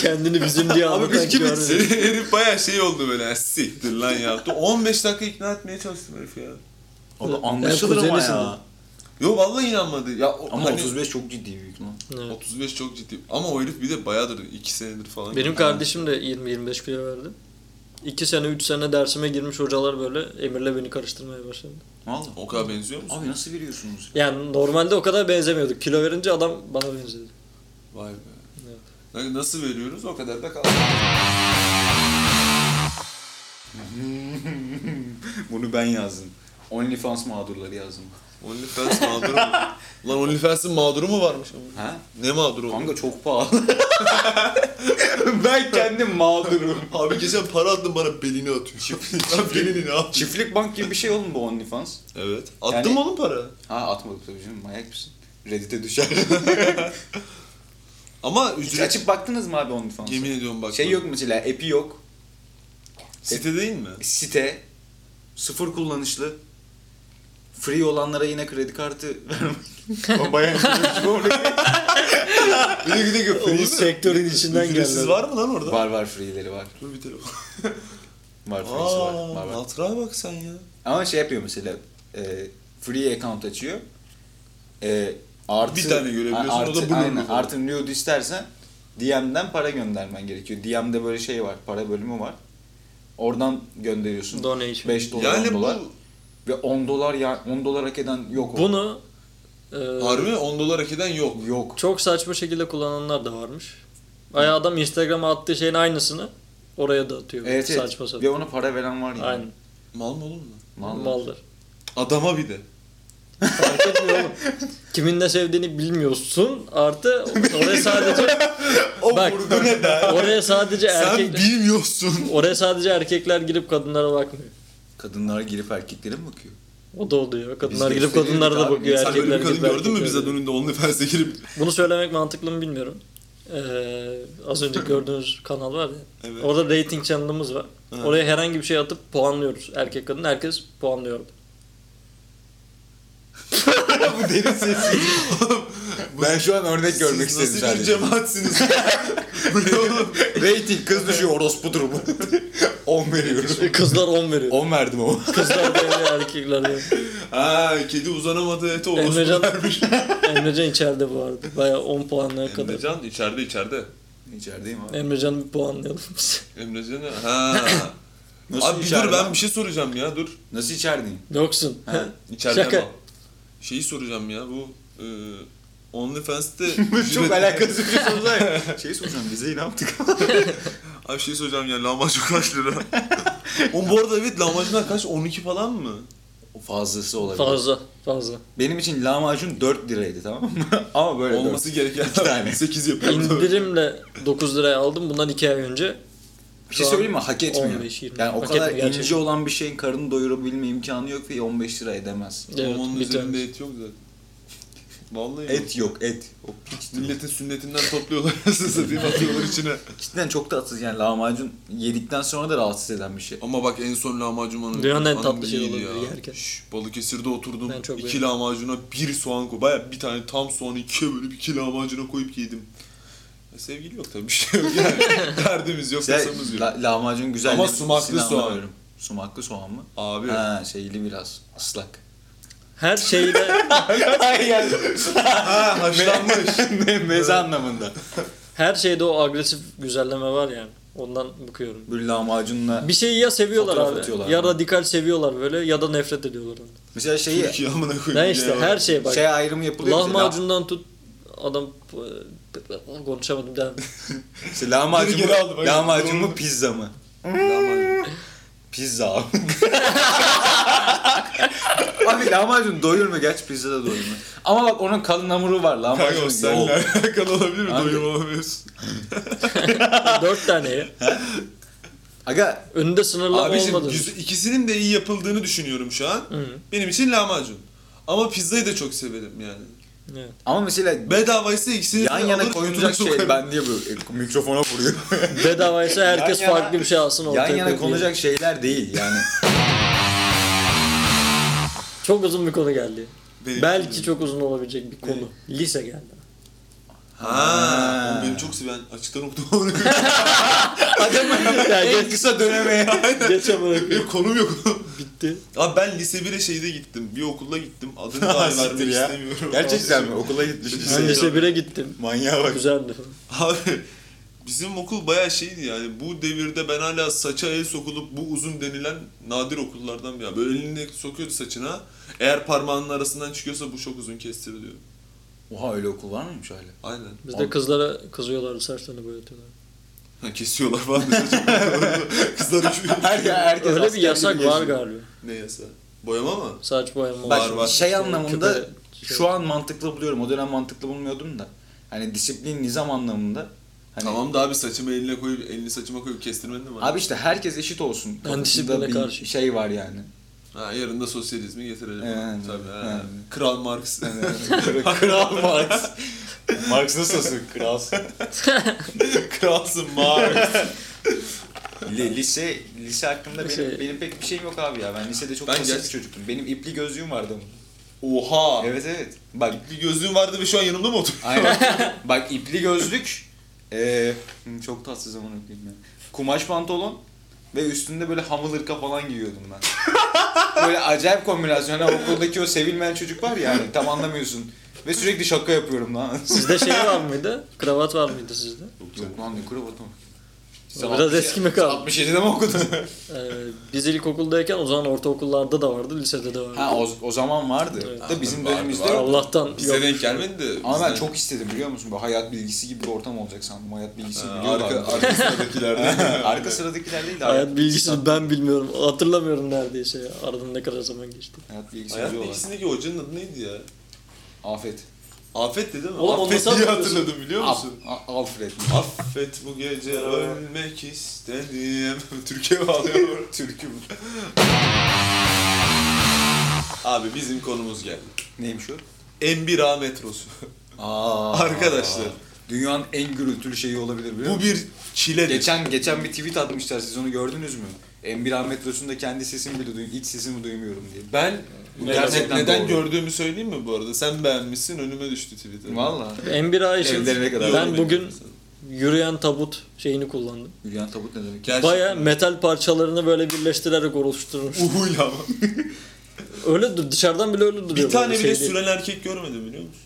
Kendini bizim diye Abi biz anlatan kimiz? görmedim. Herif bayağı şey oldu böyle. "Ha, Siktir lan yaptı. 15 dakika ikna etmeye çalıştım herif ya. Abi Evet, anlaşılır ama kuzenisin ya. Yo vallahi inanmadı. Ya, o- Ama hani- 35 çok ciddi büyük lan. Evet. 35 çok ciddi. Ama o herif bir de bayağıdır 2 senedir falan. Benim kardeşim de 20-25 kilo verdi. 2 sene 3 sene dersime girmiş hocalar böyle Emir'le beni karıştırmaya başladı. Valla. O kadar benziyor musun? Abi nasıl veriyorsunuz? Yani normalde o kadar benzemiyorduk. Kilo verince adam bana benzedi. Vay be. Evet. Yani Nasıl veriyoruz o kadar da kaldı. Bunu ben yazdım. OnlyFans mağdurları yazdım. OnlyFans mağduru mu? Lan OnlyFans'ın mağduru mu varmış? ama? Ha? Ne mağduru? Kanka çok pahalı. ben kendim mağdurum. Abi geçen para attın bana belini atıyor. Lan belini ne yaptın? Çiftlik bank gibi bir şey oğlum bu OnlyFans. Evet. Attım Yani- oğlum para. Ha atmadık tabii canım manyak mısın? Reddit'e düşer. Ama Hiç ücret... açıp baktınız mı abi OnlyFans'a? Yemin ediyorum bak. Şey yok mesela app'i yok. Site değil mi? Site. Sıfır kullanışlı. Free olanlara yine kredi kartı vermek. O bayağı şey. Bir dakika bir dakika. Oğlum sektörün içinden Ücretsiz geldi. var mı lan orada? Var var free'leri var. Dur bir telefon. Var free'si var. Aaa var, var. Altıra bak sen ya. Ama şey yapıyor mesela. E, free account açıyor. E, artı, Bir tane görebiliyorsun, artı, o da blurlu Aynen falan. artı nude istersen DM'den para göndermen gerekiyor. DM'de böyle şey var para bölümü var. Oradan gönderiyorsun. Donation. 5 dolar 10 Yani bu dolar. Ve 10 dolar ya 10 dolar hak eden yok. orada. Bunu e, harbi 10 dolar hak eden yok. yok. Çok saçma şekilde kullananlar da varmış. Ay adam Instagram'a attığı şeyin aynısını oraya da atıyor. Evet, evet. saçma sapan. Ve ona para veren var yani. Aynen. Mal mı oğlum lan? Vallahi. Maldır. Adama bir de. Fark etmiyor oğlum. Kimin ne sevdiğini bilmiyorsun. Artı oraya sadece O Bak. vurdu ne be? oraya sadece Sen erkek bilmiyorsun. oraya sadece erkekler girip kadınlara bakmıyor. Kadınlar girip erkeklere mi bakıyor? O da oluyor. Kadınlar Biz girip gösteriyorduk kadınlara da abi. bakıyor. Sen böyle erkekler bir girip kadın gördün mü erkeklere bize de- dönünde OnlyFans'e girip? Bunu söylemek mantıklı mı bilmiyorum. Ee, az önce gördüğünüz kanal var ya. Evet. Orada rating channel'ımız var. Ha. Oraya herhangi bir şey atıp puanlıyoruz. Erkek kadın herkes puanlıyor. Bu derin sesi. ben şu an örnek görmek istedim Siz nasıl bir sadece. cemaatsiniz? Bu ne oğlum? Rating kız düşüyor orospu durumu. 10 veriyoruz. Kızlar 10 veriyor. 10 verdim ama. Kızlar beğeniyor, erkekler beğeniyor. Ha kedi uzanamadı ete orospu Emrecan- vermiş. Emrecan içeride bu arada. Baya 10 puanlaya kadar. Emrecan içeride içeride. İçerideyim abi. Emrecan'ı bir puanlayalım biz. Emrecan'ı ha. Abi bir dur içeride? ben bir şey soracağım ya dur. Nasıl içerideyim? Yoksun. Ha, İçeriden Şaka. al. Şeyi soracağım ya bu e, OnlyFans'te Çok alakası bir şey soracağım. Şey soracağım vizeyi ne yaptık? Abi şey soracağım ya lahmacun kaç lira? Oğlum bu arada evet lahmacunlar kaç? 12 falan mı? O fazlası olabilir. Fazla. Fazla. Benim için lahmacun 4 liraydı tamam mı? ama böyle Olması gereken tane. 8 yapıyor. İndirimle 9 liraya aldım. Bundan 2 ay önce. Bir şey Şu an söyleyeyim mi? Hak etmiyor. 15, 20. yani o Hak kadar etmiyor gerçekten. ince olan bir şeyin karnını doyurabilme imkanı yok ve 15 lira edemez. Evet, Ama onun bir üzerinde tanesi. et yok zaten. Vallahi et. Et yok et. O Milletin sünnetinden topluyorlar nasıl satayım atıyorlar içine. cidden çok tatsız yani lahmacun yedikten sonra da rahatsız eden bir şey. Ama bak en son lahmacunun Dünyanın en tatlı şeyi olabilir yerken. Şş, Balıkesir'de oturdum. Ben çok iki beğendim. lahmacuna bir soğan koy. Baya bir tane tam soğanı ikiye bölüp iki lahmacuna koyup yedim. Ya sevgili yok tabii bir şey yok yani. Derdimiz yok, Ya, tasamız yok. la, lahmacun güzel. Ama de- sumaklı Sinan'la soğan. bölüm. Sumaklı soğan mı? Abi. Ha şeyli biraz ıslak. Her şeyde Hayır. Ha haşlanmış. Meze anlamında. her şeyde o agresif güzelleme var yani. Ondan bıkıyorum. Böyle lahmacunla. Bir şeyi ya seviyorlar Fotoğraf abi. atıyorlar. Ya radikal seviyorlar böyle ya da nefret ediyorlar. ondan. Mesela şeyi Türkiye amına koyayım. Ne işte ya. her şeye bak. şey ayrımı yapılıyor. bize. Lahmacundan tut adam konuşamadım devam. İşte lahmacun Geri mu, geri aldım, aynen. lahmacun mu Doğru. pizza mı? Lahmacun. Pizza abi. abi lahmacun doyurma gerçi pizza da doyurma. Ama bak onun kalın hamuru Kanka var o lahmacun yok. seninle alakalı olabilir mi? Abi. Doyum olamıyorsun. Dört tane ya. Aga Önünde sınırlama Abicim olmadı. güz- ikisinin de iyi yapıldığını düşünüyorum şu an. Hı. Benim için lahmacun. Ama pizzayı da çok severim yani. Evet. ama mesela Bedava ise ikisini yan de yana alır, koyulacak götürür şey sokarım. ben diye böyle e, mikrofona vuruyor. Bedavaysa herkes Yan yana- farklı bir şey alsın ortaya. yan yana koyuyor. konulacak şeyler değil yani. Çok uzun bir konu geldi. Benim- Belki çok uzun olabilecek bir konu. Lise geldi. Ha, oğlum benim çok seven açıktan okudum onu. ya en geç, kısa döneme ya. geç ama benim konum yok. bitti. Abi ben lise 1'e şeyde gittim. Bir okulda gittim. Adını dahi Siktir vermek ya. istemiyorum. Gerçekten mi? Okula gitmiş. Ben Lise Ben lise 1'e gittim. Manyağa bak. Güzeldi. Abi Bizim okul bayağı şeydi yani bu devirde ben hala saça el sokulup bu uzun denilen nadir okullardan bir ya. Böyle elini sokuyordu saçına. Eğer parmağının arasından çıkıyorsa bu çok uzun kestiriliyor. Oha öyle okul var mıymış hala? Aynen. Bizde kızlara kızıyorlardı saçlarını boyatıyorlar. Ha, kesiyorlar falan. da saçı. Kızlar uçuyor. Her ya herkes Öyle bir asker yasak gibi var geziyor. galiba. Ne yasa? Boyama mı? Saç boyama Bak Var, var. şey Küpe- anlamında şey- şu an mantıklı buluyorum. O dönem mantıklı bulmuyordum da. Hani disiplin nizam anlamında. Hani, Tamam da abi saçımı eline koyup elini saçıma koyup kestirmenin de var. Abi işte herkes eşit olsun. kafasında disipline bir karşı. şey var yani. Ha, yarın da sosyalizmi getirelim. Evet, Tabii. ha. evet. Kral Marx. Kral Marx. Marx nasılsın kral? Kralsın Marx. lise lise hakkında benim, Lise- benim pek bir şeyim yok abi ya. Ben lisede çok Ben basit bir gerçi- çocuktum. Benim ipli gözlüğüm vardı ama. Oha. Evet evet. Bak Bir gözlüğüm vardı ve şu an yanımda mı oturuyor? Aynen. Bak ipli gözlük. Ee, hı, çok tatsız zaman öpeyim ya. Kumaş pantolon ve üstünde böyle hamıl hırka falan giyiyordum ben. böyle acayip kombinasyon. Hani okuldaki o sevilmeyen çocuk var ya hani tam anlamıyorsun. Ve sürekli şaka yapıyorum lan. Sizde şey var mıydı? Kravat var mıydı sizde? Yok lan ne kravatı mı? Biraz eski mi kaldı? 67'de mi okudun? Ee, biz ilkokuldayken o zaman ortaokullarda da vardı, lisede de vardı. ha o, o zaman vardı. Evet. Da bizim Vardı, dönemimizde vardı. yok. Allah'tan Bize yok. denk gelmedi de. Ama ben bizden- çok istedim biliyor musun? Böyle hayat bilgisi gibi bir ortam olacak sandım. Hayat bilgisi Ha, biliyorlardı. arka, arka sıradakilerde. Arka sıradakiler değil de Hayat bilgisini ben bilmiyorum. Hatırlamıyorum neredeyse. ya. Aradan ne kadar zaman geçti. Hayat bilgisi Hayat biliyorlar. bilgisindeki hocanın adı neydi ya? Afet. Afet dedi mi? Oğlum, onu Afet sen diye hatırlıyorsun. hatırladım biliyor musun? Al- Al- Alfred. Affet bu gece ölmek istedim. Türkiye bağlıyor. Türküm. Abi bizim konumuz geldi. Neymiş o? M1A metrosu. Aa, Arkadaşlar. Dünyanın en gürültülü şeyi olabilir biliyor Bu musun? bir çiledir. Geçen geçen bir tweet atmışlar siz onu gördünüz mü? M1 metrosunda kendi sesimi bile duyuyorum, iç sesimi duymuyorum diye. Ben Ne- gerçek neden neden doğru? gördüğümü söyleyeyim mi bu arada? Sen beğenmişsin önüme düştü Twitter'da. Valla. M1A için Evlerine kadar. ben bugün yürüyen tabut şeyini kullandım. Hülyan Tabut ne demek? Gerçekten. Baya metal parçalarını böyle birleştirerek oluşturmuş. Uhuyla ama. Öyle dur dışarıdan bile öyle duruyor. Bir tane böyle bile şey değil. süren erkek görmedim biliyor musun?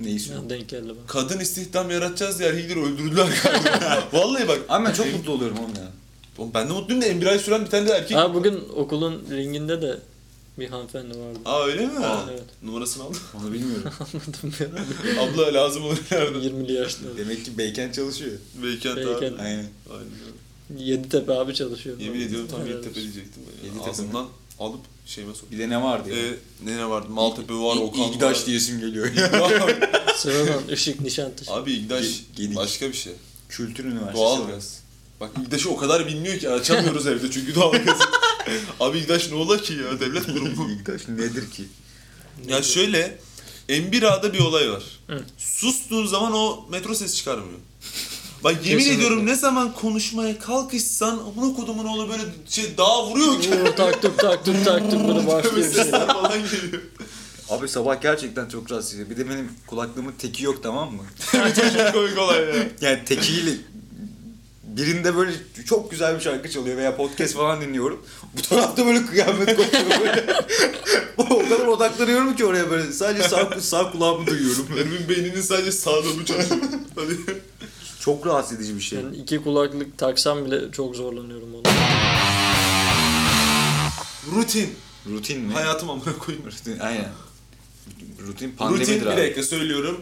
Neyi söylüyor? Ya, denk geldi bana. Kadın istihdam yaratacağız diye erkekleri öldürdüler galiba. Vallahi bak. Ama ben çok mutlu oluyorum oğlum ya. Oğlum ben de mutluyum da Emre Ay süren bir tane de erkek. Ha bugün okulun ringinde de bir hanımefendi vardı. Aa öyle mi? Evet. Numarasını aldım. Onu bilmiyorum. Anladım ya. Abla lazım olur herhalde. 20'li yaşlarda. demek ki Beyken çalışıyor. Beykent abi. Beykent. Aynen. Aynen. öyle. Yeditepe abi çalışıyor. Yemin ediyorum tam Helal Yeditepe olsun. diyecektim. Ben. Yeditepe mi? Ağzımdan alıp şeyime soktum. Bir de ne vardı ya? Ee, ne ne vardı? Maltepe var, Okan var. İgdaş diyesim geliyor. Sıradan ışık Nişantaşı. Abi İgdaş Ge- gedik. başka bir şey. Kültür Üniversitesi. Doğal var. gaz. Bak İgdaş'ı o kadar bilmiyor ki açamıyoruz evde çünkü doğal gaz. Abi İgdaş ne ola ki ya devlet kurumu. İgdaş nedir ki? ya şöyle M1A'da bir olay var. Hı. Sustuğun zaman o metro ses çıkarmıyor. Bak yemin Kesinlikle. ediyorum ne zaman konuşmaya kalkışsan amına kodumun oğlu böyle şey daha vuruyor ki. Vur taktık taktık taktık bunu Böyle başlıyor bir şey. sesler falan geliyor. Abi sabah gerçekten çok rahatsız ediyor. Bir de benim kulaklığımın teki yok tamam mı? Çok komik olay ya. Yani tekiyle birinde böyle çok güzel bir şarkı çalıyor veya podcast falan dinliyorum. Bu tarafta böyle kıyamet kopuyor böyle. o kadar odaklanıyorum ki oraya böyle. Sadece sağ, sağ kulağımı duyuyorum. Herifin beyninin sadece sağda bu çalışıyor. Hani- Çok rahatsız edici bir şey. Yani iki kulaklık taksam bile çok zorlanıyorum onu. Rutin. Rutin mi? Hayatım amına koyayım. Rutin, aynen. Rutin pandemidir Rutin bir abi. dakika söylüyorum.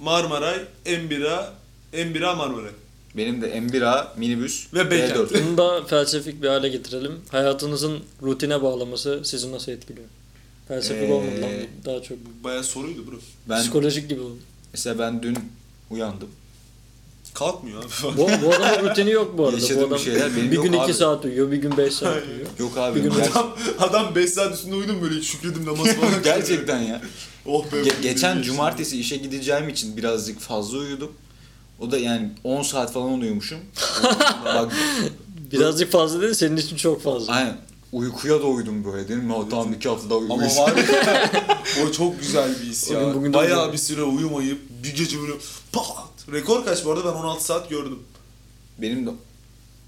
Marmaray, M1A, M1A Marmaray. Benim de M1A, minibüs Ve Beyken. B4. Bunu da felsefik bir hale getirelim. Hayatınızın rutine bağlaması sizi nasıl etkiliyor? Felsefik Ee, olmadı lan bu. daha çok. Baya soruydu bro. Ben, Psikolojik gibi oldu. mesela ben dün uyandım. Kalkmıyor abi. Bu, bu adamın rutini yok bu arada. Yaşadığım bu adam bir şeyler benim bir yok gün abi. iki saat uyuyor, bir gün beş saat uyuyor. Yok Bir abi. gün- ger- adam, adam 5 saat üstünde uyudum böyle hiç şükredim namaz falan. gerçekten ya. oh be. Ge- geçen Geçti. cumartesi işe gideceğim için birazcık fazla uyudum. O da yani 10 saat falan uyumuşum. Bak, Birazcık fazla değil, senin için çok fazla. aynen uykuya da uyudum böyle dedim. Ya, tamam iki haftada Ama uyumuşum. var ya, o çok güzel bir his Bugün- ya. bugün de Bayağı uyuyorum. bir süre uyumayıp bir gece böyle pat. Rekor kaç bu arada ben 16 saat gördüm. Benim de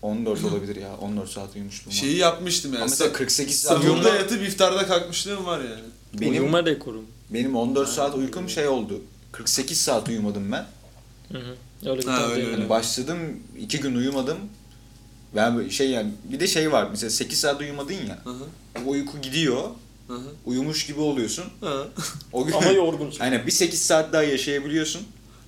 14 olabilir ya. 14 saat uyumuştum. var. Şeyi yapmıştım yani. Ama mesela 48 saat Sahurda uyumda yatıp iftarda kalkmışlığım var yani. benim, Uyuma rekoru mu? benim 14 saat uykum şey oldu. 48 saat uyumadım ben. Hani Hı hı. Öyle bir Ha, tane öyle, değil. öyle. Yani. Başladım, iki gün uyumadım. Ben böyle şey yani bir de şey var mesela 8 saat uyumadın ya. Hı hı. O uyku gidiyor. Hı hı. Uyumuş gibi oluyorsun. Ha. O gün Ama yorgunsun. Aynen bir 8 saat daha yaşayabiliyorsun.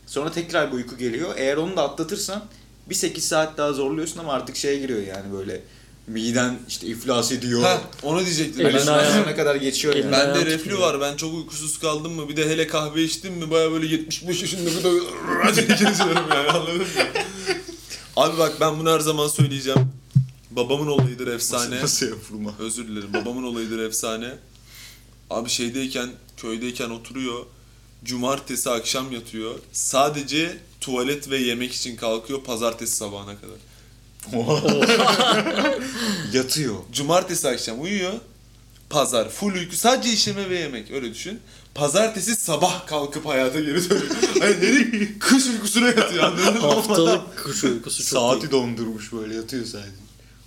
Sonra tekrar bir uyku geliyor. Eğer onu da atlatırsan bir 8 saat daha zorluyorsun ama artık şeye giriyor yani böyle miden işte iflas ediyor. Ha, onu diyecektim. Elini Yani Ben- Elinden ayağı- sonuna kadar geçiyor yani. Elinden- Bende Ayağım reflü titriyor. var. Ben çok uykusuz kaldım mı? Bir de hele kahve içtim mi? Baya böyle 75 yaşında bir de geziyorum yani anladın mı? Abi bak ben bunu her zaman söyleyeceğim. Babamın olayıdır efsane. Nasıl yapılma? Özür dilerim. Babamın olayıdır efsane. Abi şeydeyken, köydeyken oturuyor. Cumartesi akşam yatıyor. Sadece tuvalet ve yemek için kalkıyor pazartesi sabahına kadar. Yatıyor. Cumartesi akşam uyuyor. Pazar full uyku sadece işleme ve yemek öyle düşün. Pazartesi sabah kalkıp hayata geri dönüyor. hani herif kış uykusuna yatıyor anladın mı? Haftalık kış uykusu çok iyi. Saati dondurmuş böyle yatıyor sadece.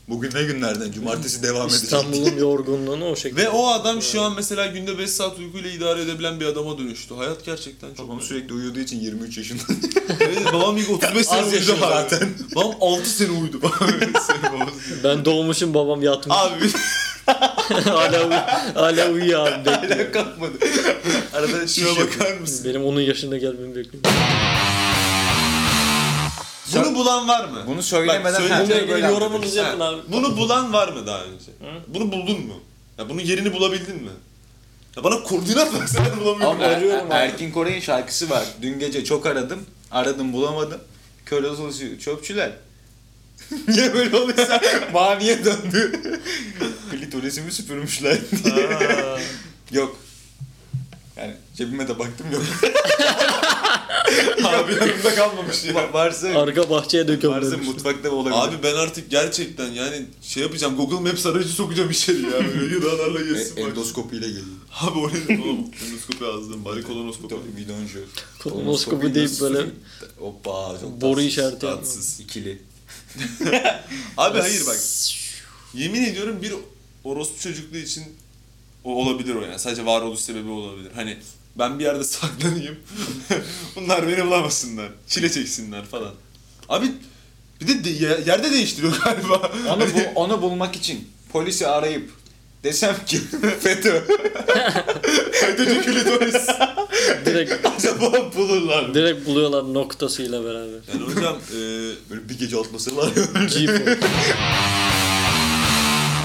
Bugün ne günlerden? Cumartesi devam edecek. İstanbul'un yorgunluğunu o şekilde. Ve o adam şu an mesela günde 5 saat uykuyla idare edebilen bir adama dönüştü. Hayat gerçekten çok Babam önemli. sürekli uyuduğu için 23 yaşında. Evet, babam ilk 35 sene Az uyudu yaşıyor abi. zaten. Babam 6 sene uyudu. Senin babası. Ben doğmuşum babam yatmış. Ah. abi hala, uy- hala uyuyor abi bekliyor. Hala kalkmadı. Arada şuna bakar mısın? Benim onun yaşında gelmemi bekliyor. Bunu bulan var mı? Bunu söylemeden Bak, söyle- her Bunu şey böyle yorumunuzu yapın abi. Bunu bulan var mı daha önce? Bunu buldun mu? Ya bunun yerini bulabildin mi? Ya bana koordinat versene bulamıyorum. Ama er, Arıyorum abi. Erkin Koray'ın şarkısı var. Dün gece çok aradım. Aradım bulamadım. Kör olsun çöpçüler. Niye böyle oluyorsa maviye döndü. Klitorisimi süpürmüşler diye. Aa. Yok. Yani cebime de baktım yok. Abi yanımda kalmamış ya. Va- varsa Arka bahçeye de varsa gömülmüş. mutfakta olabilir. Abi ben artık gerçekten yani şey yapacağım Google Maps aracı sokacağım içeri ya böyle yılanlarla gezsin E, bak. endoskopiyle geliyor. Abi o ne oğlum? Endoskopi ağzım bari kolonoskopi. Tabii bidoncu. Kolonoskopi deyip böyle Hoppa çok boru tatsız. işareti yapmış. Tatsız. İkili. Abi hayır bak yemin ediyorum bir orospu çocukluğu için o olabilir o yani. Sadece varoluş sebebi olabilir. Hani ben bir yerde saklanayım. Bunlar beni bulamasınlar. Çile çeksinler falan. Abi bir de, de- ye- yerde değiştiriyor galiba. Onu, bu- onu bulmak için polisi arayıp desem ki FETÖ FETÖ'cü klitoris. Direkt, acaba bulurlar mı? direkt buluyorlar noktasıyla beraber. Yani hocam e, Böyle bir gece atması var. G4.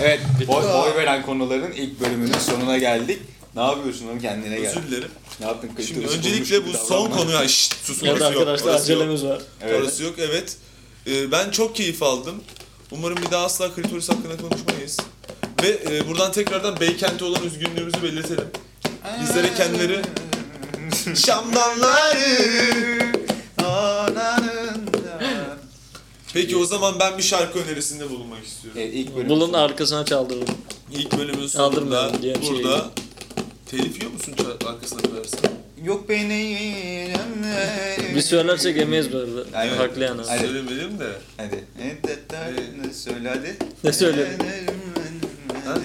evet, oy, oy veren konuların ilk bölümünün sonuna geldik. Ne yapıyorsun oğlum kendine gel. özür dilerim. Ne yaptın? Şimdi Klitoris öncelikle bu bulmuş gibi son davranma. konuya şşt sus ya da orası yok. orası arkadaşlar yok. acelemiz var. Evet. Orası yok evet. Ee, ben çok keyif aldım. Umarım bir daha asla klitoris hakkında konuşmayız. Ve e, buradan tekrardan Beykent'e olan üzgünlüğümüzü belirtelim. Bizlere kendileri Şamdanları Peki o zaman ben bir şarkı önerisinde bulunmak istiyorum. Evet, E, ilk bölüm. Bulun arkasına çaldırdım. İlk bölümün sonunda Kaldırmayalım diye bir şey burada Telif yiyor musun ça- arkasına koyarsan? Yok beni Biz söylersek yemeyiz bu arada. Aynen. Haklı yani. abi. Aynen. Hadi. Söylemedim de. Hadi. Ne söyle hadi. Ne söyle? Ha?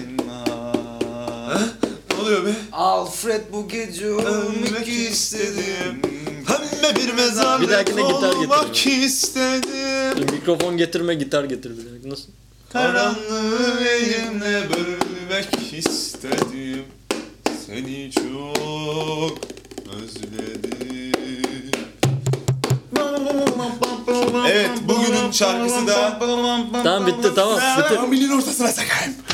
Ne oluyor be? Alfred bu gece ölmek istedim. Hem bir mezarlık Bir dahakine gitar olmak getirin. istedim. Mikrofon getirme, gitar getir bir dakika. Nasıl? Karanlığı elimle bölmek istedim Seni çok özledim Evet, bugünün şarkısı da- Tamam bitti tamam. Bitir. Amilin ortasına sakayım